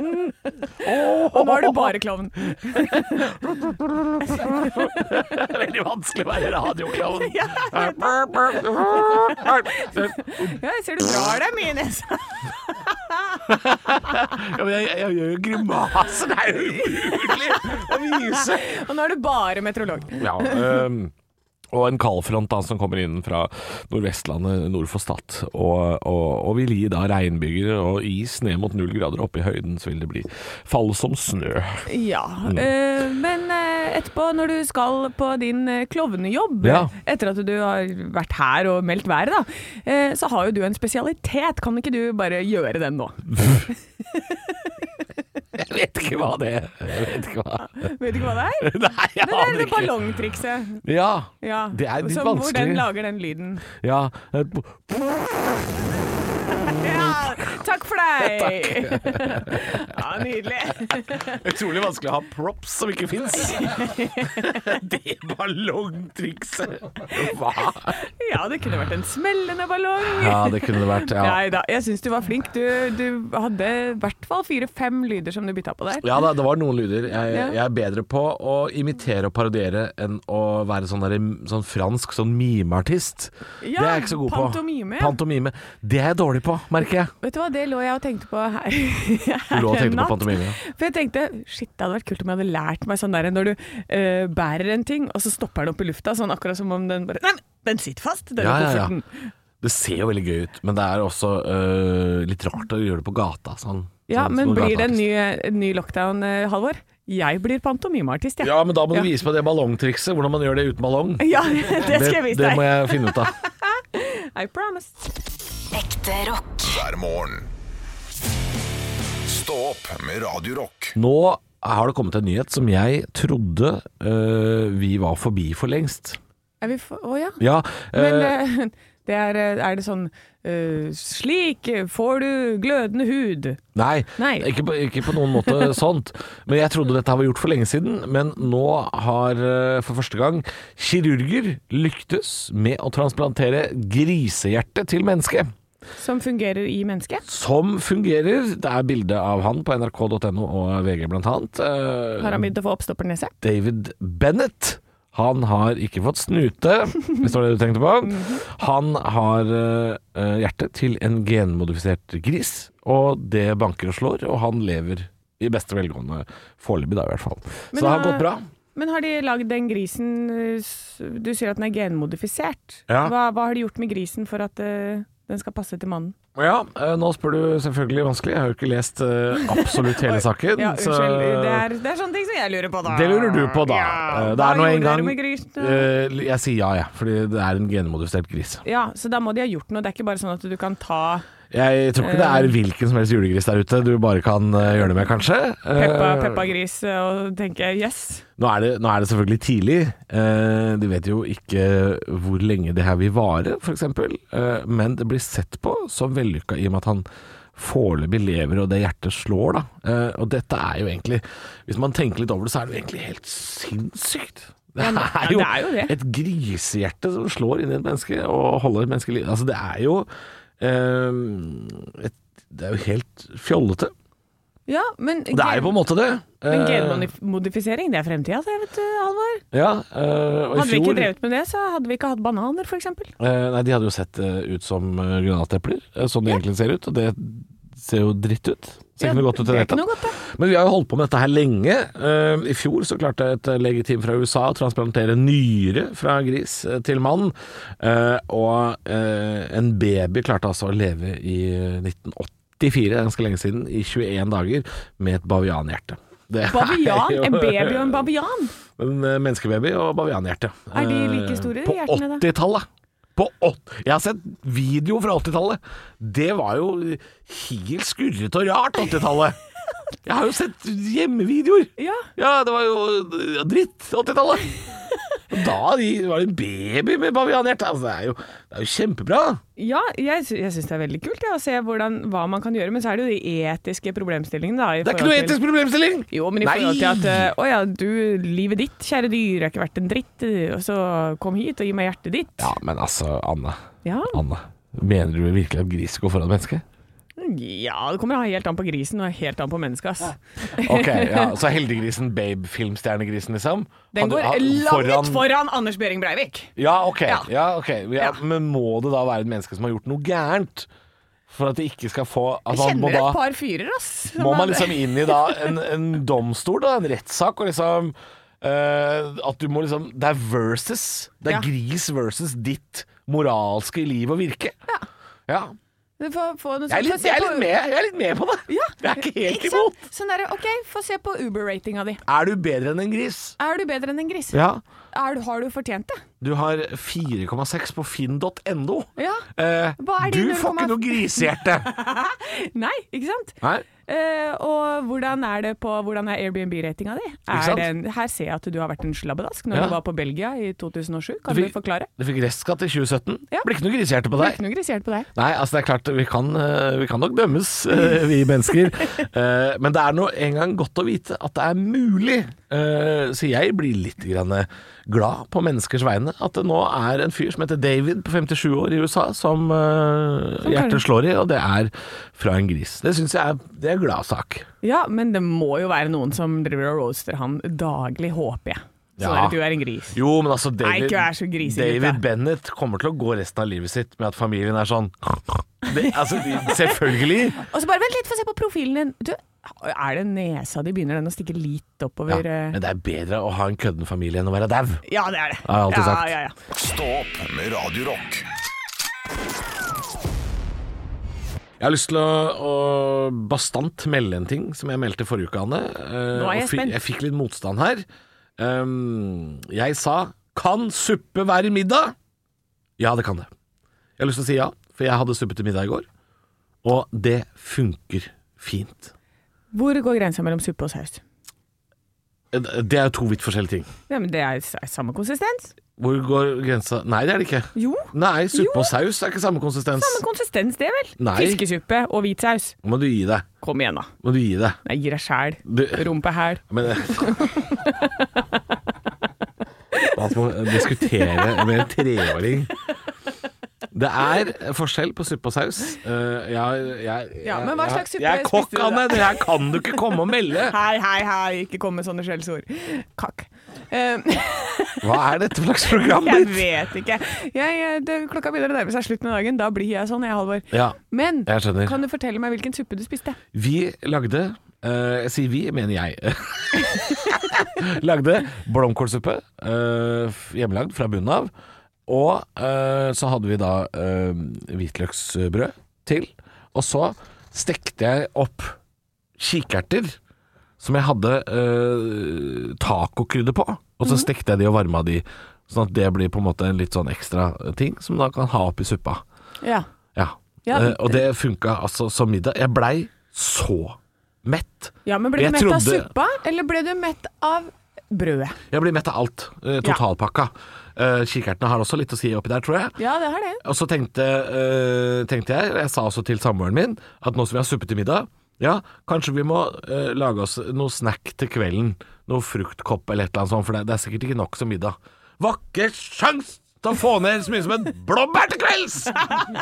Og nå er du bare klovn. Det er veldig vanskelig å være radioklovn. Ja, jeg ser du drar deg mye i nesa. Ja, men jeg, jeg, jeg gjør jo grimaser, det er jo umulig å vise. Og nå er du bare meteorolog. Ja, ehm, og en kaldfront da, som kommer inn fra Nordvestlandet nord for Stad. Og, og, og vil gi da regnbyger og is ned mot null grader. Oppe i høyden så vil det bli fall som snø. Ja, eh, men eh, eh, etterpå når du skal på din eh, klovnejobb, Ja. etter at du har vært her og meldt været, da, eh, så har jo du en spesialitet. Kan ikke du bare gjøre den nå? Jeg vet ikke hva det er. Jeg vet ikke hva. Vet du ikke hva det er? Nei, jeg Det er aner det ikke. ballongtrikset. Ja. Ja. Det er litt som, Hvor den vanskelig. lager den lyden. ja. eh, Ja, takk for deg! ja, nydelig. Utrolig vanskelig å ha props som ikke fins. det ballongtrikset. Hva? Ja, det kunne vært en smellende ballong. Ja, det kunne det vært. Ja. Nei da, jeg syns du var flink. Du, du hadde i hvert fall fire-fem lyder som du bytta på der. Ja da, det var noen lyder. Jeg, Ja. jeg er bedre på å imitere og parodiere enn å være sånn, der, sånn fransk sånn mimeartist. Ja, det er jeg ikke så god pantomime. på. Pantomime. Det er jeg dårlig på, merker jeg. Vet du hva, det lå jeg og tenkte på her. Du Du lå og tenkte på pantomime. ja. For jeg tenkte shit, det hadde vært kult om jeg hadde lært meg sånn der når du eh, bærer en ting, og så stopper den opp i lufta, sånn akkurat som om den bare Nei, men den sitter fast, denne Ja, ja, ja. kofferten. Det ser jo veldig gøy ut, men det er også øh, litt rart å gjøre det på gata. Sånn, Ja, sånn, men som blir det en gateartist. ny, en ny lockdown, eh, Halvor? Jeg blir pantomimeartist, jeg. Ja, men da må du Ja. vise meg det ballongtrikset. Hvordan man gjør det uten ballong. Ja, det skal jeg vise Det må deg. jeg finne ut av. I promise. Ekte rock. hver morgen. Stå opp med Radio Rock. Nå har det kommet en nyhet som jeg trodde øh, vi var forbi for lengst. Er vi for Å ja. Ja, Men øh, eh, det er, eh, er det sånn eh, Slik får du glødende hud. Nei, Nei. Ikke, på, ikke på noen måte sånt. Men jeg trodde dette var gjort for lenge siden. Men nå har eh, for første gang kirurger lyktes med å transplantere grisehjerte til menneske. Som fungerer i mennesket. Som fungerer. Det er bilde av han på nrk.no og VG blant annet. Eh, Har han begynt å få oppstoppernese? David Bennett. Han har ikke fått snute, hvis det var det du tenkte Mhm. på. Han har eh, hjertet til en genmodifisert gris, og det banker og slår, og han lever i beste velgående foreløpig, da i hvert fall. Men eh, Så det har da- gått bra. Men har de lagd den grisen eh, s- Du sier at den er genmodifisert. Ja. Hva, hva har de gjort med grisen for at eh, den skal passe til mannen? Ja, eh, nå spør du selvfølgelig vanskelig. Jeg har jo ikke lest eh, absolutt hele saken. Ja, Mm, så- unnskyld. Det er, det er sånne ting som jeg lurer på, da. Det lurer du på, da. Ja, Eh, det hva er nå en gjorde dere gang med grisen? eh, Jeg sier ja, jeg, fordi det er en genmodifisert gris. Ja, så da må de ha gjort noe. Det er ikke bare sånn at du kan ta Jeg tror ikke det Eh. er hvilken som helst julegris der ute du bare kan eh, gjøre det med, kanskje. Eh, Peppa, Peppa Gris og tenke yes. Nå er, det, nå er det selvfølgelig tidlig. Eh, de vet jo ikke hvor lenge det her vil vare, f.eks. Eh, men det blir sett på som vellykka i og med at han foreløpig lever, og det hjertet slår, da. Eh, og dette er jo egentlig Hvis man tenker litt over det, så er det jo egentlig helt sinnssykt. Det Ja, ja, er det jo, er jo det. et grisehjerte som slår inn i et menneske og holder et menneske i live. Altså, det er jo eh, et, Det er jo helt fjollete. Ja, men Det er jo på en måte det. Men Eh, genmodifisering, det er fremtida, det, vet du, Halvor. ja, eh, og i Hadde vi ikke fjor- drevet med det, så hadde vi ikke hatt bananer, f.eks. Eh, nei, de hadde jo sett eh, ut som uh, granatepler, eh, sånn de egentlig ser ut. Og det ser jo dritt ut. Ser ikke noe godt ut i det det er ikke hele noe tatt. godt, det. Men vi har jo holdt på med dette her lenge. Eh, I fjor så klarte et eh, legeteam fra USA å transplantere nyre fra gris eh, til mann. Eh, og eh, en baby klarte altså å leve i 1984, det er ganske lenge siden, i 21 dager med et bavianhjerte. Det er Bavian, jo- en baby og en bavian. en eh, menneskebaby og bavianhjerte. Er de Eh, like store, På hjertene, da? 80-tallet. På åt- Jeg har sett video fra 80-tallet. Det var jo helt skurrete og rart, 80-tallet. Jeg har jo sett hjemmevideoer. Ja. Ja, det var jo ja, dritt, 80-tallet. Og Da de- var det en baby med bavianhjerte. Altså, det, er jo, det er jo kjempebra. Ja, jeg, sy- jeg syns det er veldig kult ja, å se hvordan, hva man kan gjøre, men så er det jo de etiske problemstillingene. Da, i Det er ikke forhold noe til- etisk problemstilling. Jo, men i Nei. forhold til at eh, Å ja, du, livet ditt, kjære dyr, er ikke verdt en dritt, eh, og så kom hit og gi meg hjertet ditt. Ja, men altså, Anne. Ja, Anne. Mener du virkelig at gris går foran menneske? ja det kommer helt an på grisen og helt an på mennesket, ass. Ok, ja, Så heldiggrisen, babe, filmstjernegrisen, liksom? Den Hadde- går hadde- langt foran, Anders Behring Breivik. Ja, ok. Ja. Ja. ok. Ja, Men må det da være et menneske som har gjort noe gærent? For at det ikke skal få Jeg altså, han må kjenner da- et par fyrer, ass. som Må man hadde- liksom inn i da en, en domstol, da, en rettssak, og liksom eh, At du må liksom Det er versus. Det er Ja. gris versus ditt moralske liv og virke. Ja. Få, få noe sånt. Jeg er, Få litt, se jeg, er på- litt med, jeg er litt med på det. Ja, Jeg er ikke helt ikke sant? imot. Sånn der, ok, Få se på Uber-ratinga di. Er du bedre enn en gris? Er du bedre enn en gris? Ja. Er, du- har du fortjent det? Du har 4,6 på finn.no. Ja. Eh, Hva er de du får 0,5? ikke noe grisehjerte! Nei, ikke sant? Nei. Eh, og hvordan er det på Hvordan er Airbnb-ratinga di? Er sant? den, her ser jeg at du har vært en slabbedask når Ja. du var på Belgia i 2007. Kan Du du, fikk- forklare? Du fikk restskatt i 2017. Ja. Blir ikke noe grisehjerte på Det deg. er ikke noe grisehjelp på deg. Nei, altså det er klart, vi kan, eh, vi kan nok dømmes, eh, vi mennesker. Eh, Men det er nå engang godt å vite at det er mulig. Eh, Så jeg blir litt grann eh, glad på menneskers vegne. At det nå er en fyr som heter David på 57 år i USA, som eh, hjertet slår i, og det er fra en gris. Det syns jeg er, det er en glad sak. Ja, men det må jo være noen som driver og roaster han daglig, håper jeg. Sånn Ja. at du er en gris. Jo, men altså David, Nei, ikke vær så grisete. David Bennett kommer til å gå resten av livet sitt med at familien er sånn det, altså, de, Selvfølgelig. Og så bare vent litt, få se på profilen din. Du, er det nesa di? Begynner den å stikke litt Ja, oppover? eh? men det er bedre å ha en kødden familie enn å være dau. Ja, det er det. Har jeg alltid ja, sagt. Ja, ja. Stå opp med Radio Rock. Jeg har lyst til å, å bastant melde en ting som jeg meldte forrige uke, Anne. Eh, Nå er jeg og fi- spent. Jeg fikk litt motstand her. Um, jeg sa 'Kan suppe være middag?' Ja, det kan det. Jeg har lyst til å si ja, for jeg hadde suppe til middag i går. Og det funker fint. Hvor går grensa mellom suppe og saus? Eh, Det er jo to vidt forskjellige ting. Ja, men Det er s- samme konsistens. Hvor går grensa Nei, det er det ikke. Jo, Nei, suppe Jo. og saus er ikke samme konsistens. samme konsistens det, vel? Nei. Fiskesuppe og hvit saus. Nå må du gi deg. Kom igjen, da. Må du gi deg. Nei, gir deg sjæl. Du- Rumpehæl. Men eh, At man diskuterer med en treåring Det er forskjell på suppe og saus. Eh, jeg, jeg, Ja, men hva jeg- slags suppe Jeg er kokk, spiste du da? Anne! Det her kan du ikke komme og melde! Hei, hei, hei, ikke kom med sånne skjellsord. Kakk. Eh, Hva er dette for slags program jeg ditt? vet ikke. Jeg, eh, det, klokka begynner å nærme seg slutten av dagen. Da blir jeg sånn, jeg, Halvor. Ja, Men jeg skjønner. kan du fortelle meg hvilken suppe du spiste? Vi lagde eh, Jeg sier vi, mener jeg. lagde blomkålsuppe, eh, f- hjemmelagd fra bunnen av. Og eh, så hadde vi da eh, hvitløksbrød til. Og så stekte jeg opp kikerter som jeg hadde eh, tacokrydder på. Og så stekte jeg de og varma de, sånn at det blir på en måte en litt sånn ekstra ting som man da kan ha oppi suppa. Ja. Ja. Ja. Eh, og det funka altså som middag. Jeg blei så mett. ja men ble du Jeg mett av trodde- suppa, eller ble du mett av brødet? Jeg blir mett av alt. eh, totalpakka. Eh, kikertene har også litt å si oppi der, tror jeg. Ja, det har det. Og så tenkte, eh, tenkte jeg, og jeg sa også til samboeren min, at nå som vi har suppe til middag, ja, kanskje vi må eh, lage oss noe snack til kvelden. Noe fruktkopp eller et eller annet sånt, for det, det er sikkert ikke nok som middag. Var ikke sjans til å få ned så mye som en blåbær til kvelds!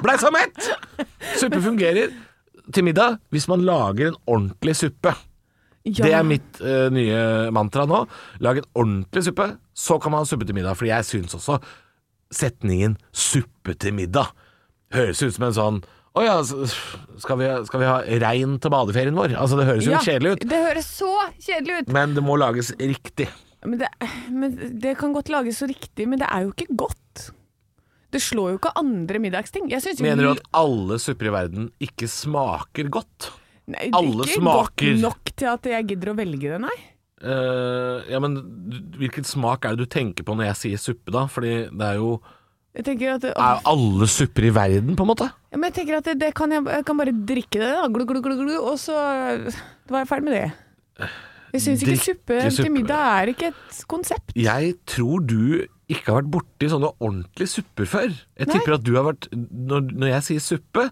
Blei så mett! Suppe fungerer til middag hvis man lager en ordentlig suppe. Ja. Det er mitt eh, nye mantra nå. Lag en ordentlig suppe, så kan man ha suppe til middag. Fordi jeg syns også setningen 'suppe til middag' høres ut som en sånn Å ja, s- skal vi, skal vi ha rein til badeferien vår? Altså, det høres jo Ja, kjedelig ut. Det høres så kjedelig ut. Men det må lages riktig. Men det, men det kan godt lages så riktig, men det er jo ikke godt. Det slår jo ikke andre middagsting. Jeg synes jo- Mener du at alle supper i verden ikke smaker godt? Nei, det er alle ikke smaker- godt nok til at jeg gidder å velge det, nei. Eh, ja, men du- hvilken smak er det du tenker på når jeg sier suppe, da? Fordi det er jo Jeg tenker at, Er jo alle supper i verden, på en måte? Ja, men jeg tenker at det, det kan jeg, jeg kan bare drikke det, da. Glu, glu, glu, glu, og så da var jeg ferdig med det. Jeg syns ikke Drikke suppe suppe. til middag er ikke et konsept. Jeg tror du ikke har vært borti sånne ordentlige supper før. Jeg Nei. tipper at du har vært Når, når jeg sier suppe,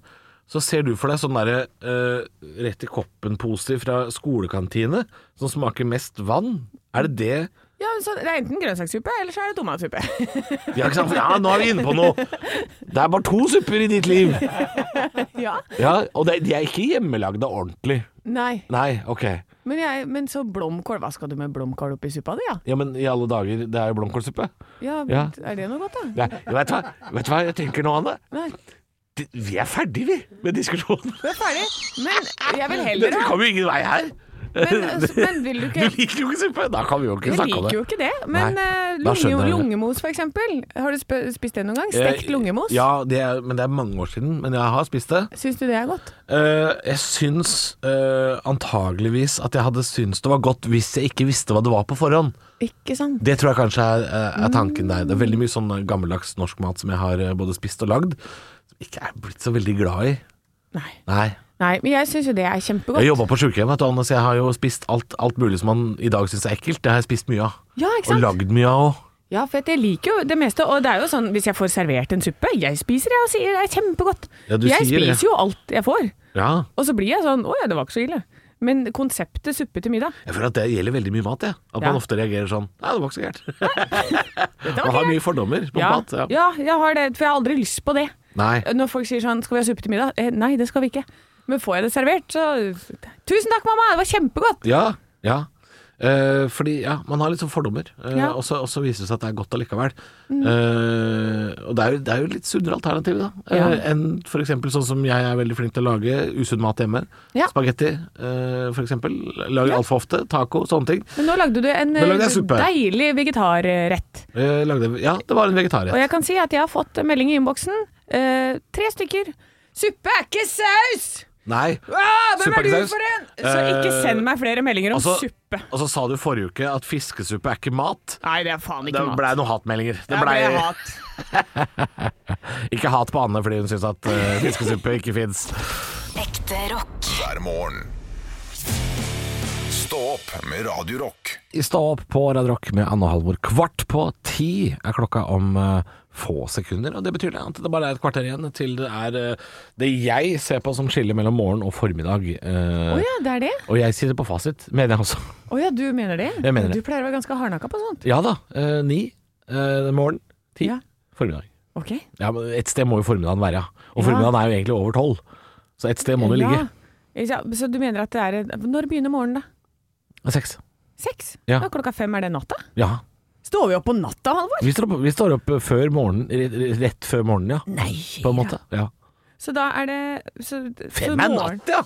så ser du for deg sånn derre eh, rett i koppen-poser fra skolekantine som smaker mest vann. Er det det Ja, så Det er enten grønnsakssuppe, eller så er det tomatsuppe. Ja, ikke sant? ja nå er vi inne på noe! Det er bare to supper i ditt liv! ja. Ja, Og det, de er ikke hjemmelagde ordentlig. Nei. Nei, ok. Men, jeg, men så blomkål. Hva skal du med blomkål oppi suppa di, ja? Ja, men i alle dager, det er jo blomkålsuppe. Ja, Ja. Er det noe godt, da? Nei, vet, du hva? vet du hva jeg tenker nå, Anne? Nei, Det- Vi er ferdige, vi, med diskusjonen. du er ferdig. Men jeg vil Det heller ha kommer jo ingen vei her. Men, altså, men vil du Du ikke liker jo ikke suppe! Da kan vi jo ikke Jeg snakke om liker jo det. ikke det, men eh, da lunge, skjønner jeg det. lungemos for eksempel. Har du sp- spist det noen gang? Stekt Eh, lungemos? Ja, det er, men det er mange år siden. Men jeg har spist det. Syns du det er godt? Eh, jeg syns eh, antageligvis at jeg hadde syntes det var godt hvis jeg ikke visste hva det var på forhånd. Ikke sant? Det tror jeg kanskje er, eh, er tanken der. Det er veldig mye sånn gammeldags norsk mat som jeg har eh, både spist og lagd, som jeg ikke er blitt så veldig glad i. Nei. Nei. Nei, men jeg syns jo det er Jeg kjempegodt. jobba på sjukehjem, vet du, Anne, så jeg har jo spist alt, alt mulig som man i dag syns er ekkelt. Det har jeg spist mye av. Ja, Og ikke sant? lagd mye av òg. Ja, for at jeg liker jo det meste. Og det er jo sånn, hvis jeg får servert en suppe, jeg spiser det og sier det er kjempegodt. Ja, du jeg sier det. spiser jo alt jeg får. Ja. Og så blir jeg sånn, å ja, det var ikke så ille. Men konseptet suppe til middag, Jeg føler at det gjelder veldig mye mat, jeg. At Ja. man ofte reagerer sånn Nei, det var ikke så gærent. dette Man var har ikke det. mye fordommer på Ja, mat. Ja. ja, jeg har det, for jeg har aldri lyst på det. Nei. Når folk sier sånn, skal vi ha suppe til middag? Eh, nei, det skal vi ikke. Men får jeg det servert, så Tusen takk, mamma, det var kjempegodt! Ja, ja. Eh, fordi ja, man har litt sånn fordommer, eh, Ja. Mm. og, så, og så viser det seg at det er godt allikevel. Eh, og det er, jo, det er jo litt sunnere alternativ, da. Uh, Ja. Enn f.eks. sånn som jeg er veldig flink til å lage usunn mat hjemme. Ja. Spagetti, uh, f.eks. Lager Ja. altfor ofte. Taco, sånne ting. Men nå lagde du en Nå lagde jeg eh, suppe. deilig vegetarrett. Eh, lagde, ja, det var en vegetarrett. Og jeg kan si at jeg har fått melding i innboksen. Eh, tre stykker. Suppe er ikke saus! Nei. Ah, hvem Suppe er er du ikke saus. for en? Så ikke Eh, send meg flere meldinger om altså- suppe. Og så sa du forrige uke at fiskesuppe er ikke mat. Nei, det er faen Det ikke mat. blei noen hatmeldinger. Det Det ble blei- hat. ikke hat på Anne fordi hun syns at eh, fiskesuppe ikke fins. Ekte rock. hver morgen. Stå opp med Radio Rock. I Stå opp på Radio Rock med Anne og Halvor. Kvart på ti er klokka om eh, få sekunder. Og Det betyr det at det bare er et kvarter igjen til det er eh, det jeg ser på som skille mellom morgen og formiddag. eh, Å ja, det er det? Og jeg sitter på fasit, mener jeg også. Å ja, du mener det? Jeg mener det. Du pleier å være ganske hardnakka på sånt. Ja da. eh, ni eh, morgen, ti Ja. formiddag. Ok. Ja, men Et sted må jo formiddagen være, ja. Og Ja. formiddagen er jo egentlig over tolv. Så et sted må det ligge. Ja. Så du mener at det er Når begynner morgenen, da? Seks. Seks? Ja. Da klokka fem er det natta? Ja. Står vi opp på natta, Halvor? Vi står opp, vi står opp før morgenen, rett- rett før morgenen, ja. Nei. På en måte. Ja. Så da er det så, Fem er natt, ja!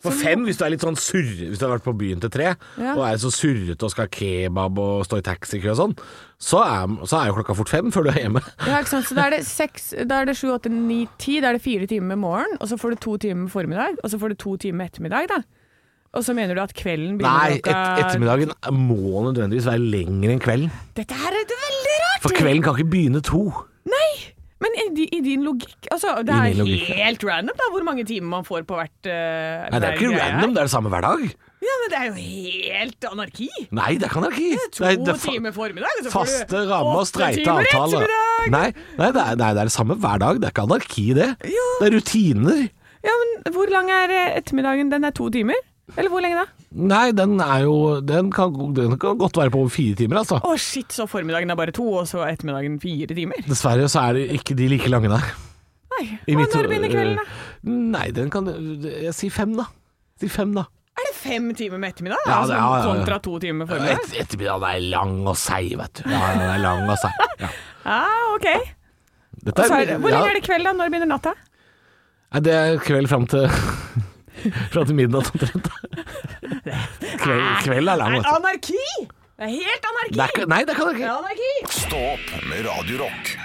For fem, hvis du er litt sånn surre Hvis du har vært på byen til tre, Ja. og er så surrete og skal ha kebab og stå i taxikø og sånn, så er, så er jo klokka fort fem før du er hjemme. Ja, ikke sant? Så da er det seks, da er det sju, åtte, ni, ti. Da er det fire timer med morgen, og så får du to timer med formiddag, og så får du to timer med ettermiddag, da. Og så mener du at kvelden Nei, begynner et, ettermiddagen må nødvendigvis være lenger enn kvelden. Dette her er veldig rart! For kvelden kan ikke begynne to. Men i, di- i din logikk altså, I Det er min logikk, ja. helt random da, hvor mange timer man får på hvert eh, Nei, det er jo ikke hver greie. random, det er det samme hver dag. Ja, men det er jo helt anarki! Nei, det kan dere ikke. To Nei, det er fa- timer formiddag, og så får du Faste rammer og åtte streite timer avtaler. ettermiddag. Nei, nei, det er, nei, det er det samme hver dag. Det er ikke anarki, det. Jo. Det er rutiner. Ja, men hvor lang er eh, ettermiddagen? Den er to timer? Eller hvor lenge da? Nei, den er jo Den kan, den kan godt være på over fire timer, altså. Å shit, så formiddagen er bare to, og så er ettermiddagen fire timer? Dessverre så er det ikke de like lange, nei. Nei. I Og mitt- eh, når begynner kvelden, da? Nei, den kan Jeg sier fem, da. Si fem, da. Er det fem timer med ettermiddag? Ja, altså, det- ja, ja, ja. Kontra to timer formiddag? Et, ettermiddagen er lang og seig, vet du. Ja, den er lang og seig. Ja. Ja, Ah, ok. Dette Og så er det, hvor lenge ja. er det kveld, da? Når begynner natta? Nei, det er kveld fram til Fram til midnatt omtrent. Kveld, kveld er lang, altså. vet du. anarki! Det er helt anarki! Det er ikke- nei, det kan det ikke. anarki! Stå opp med Radio Rock.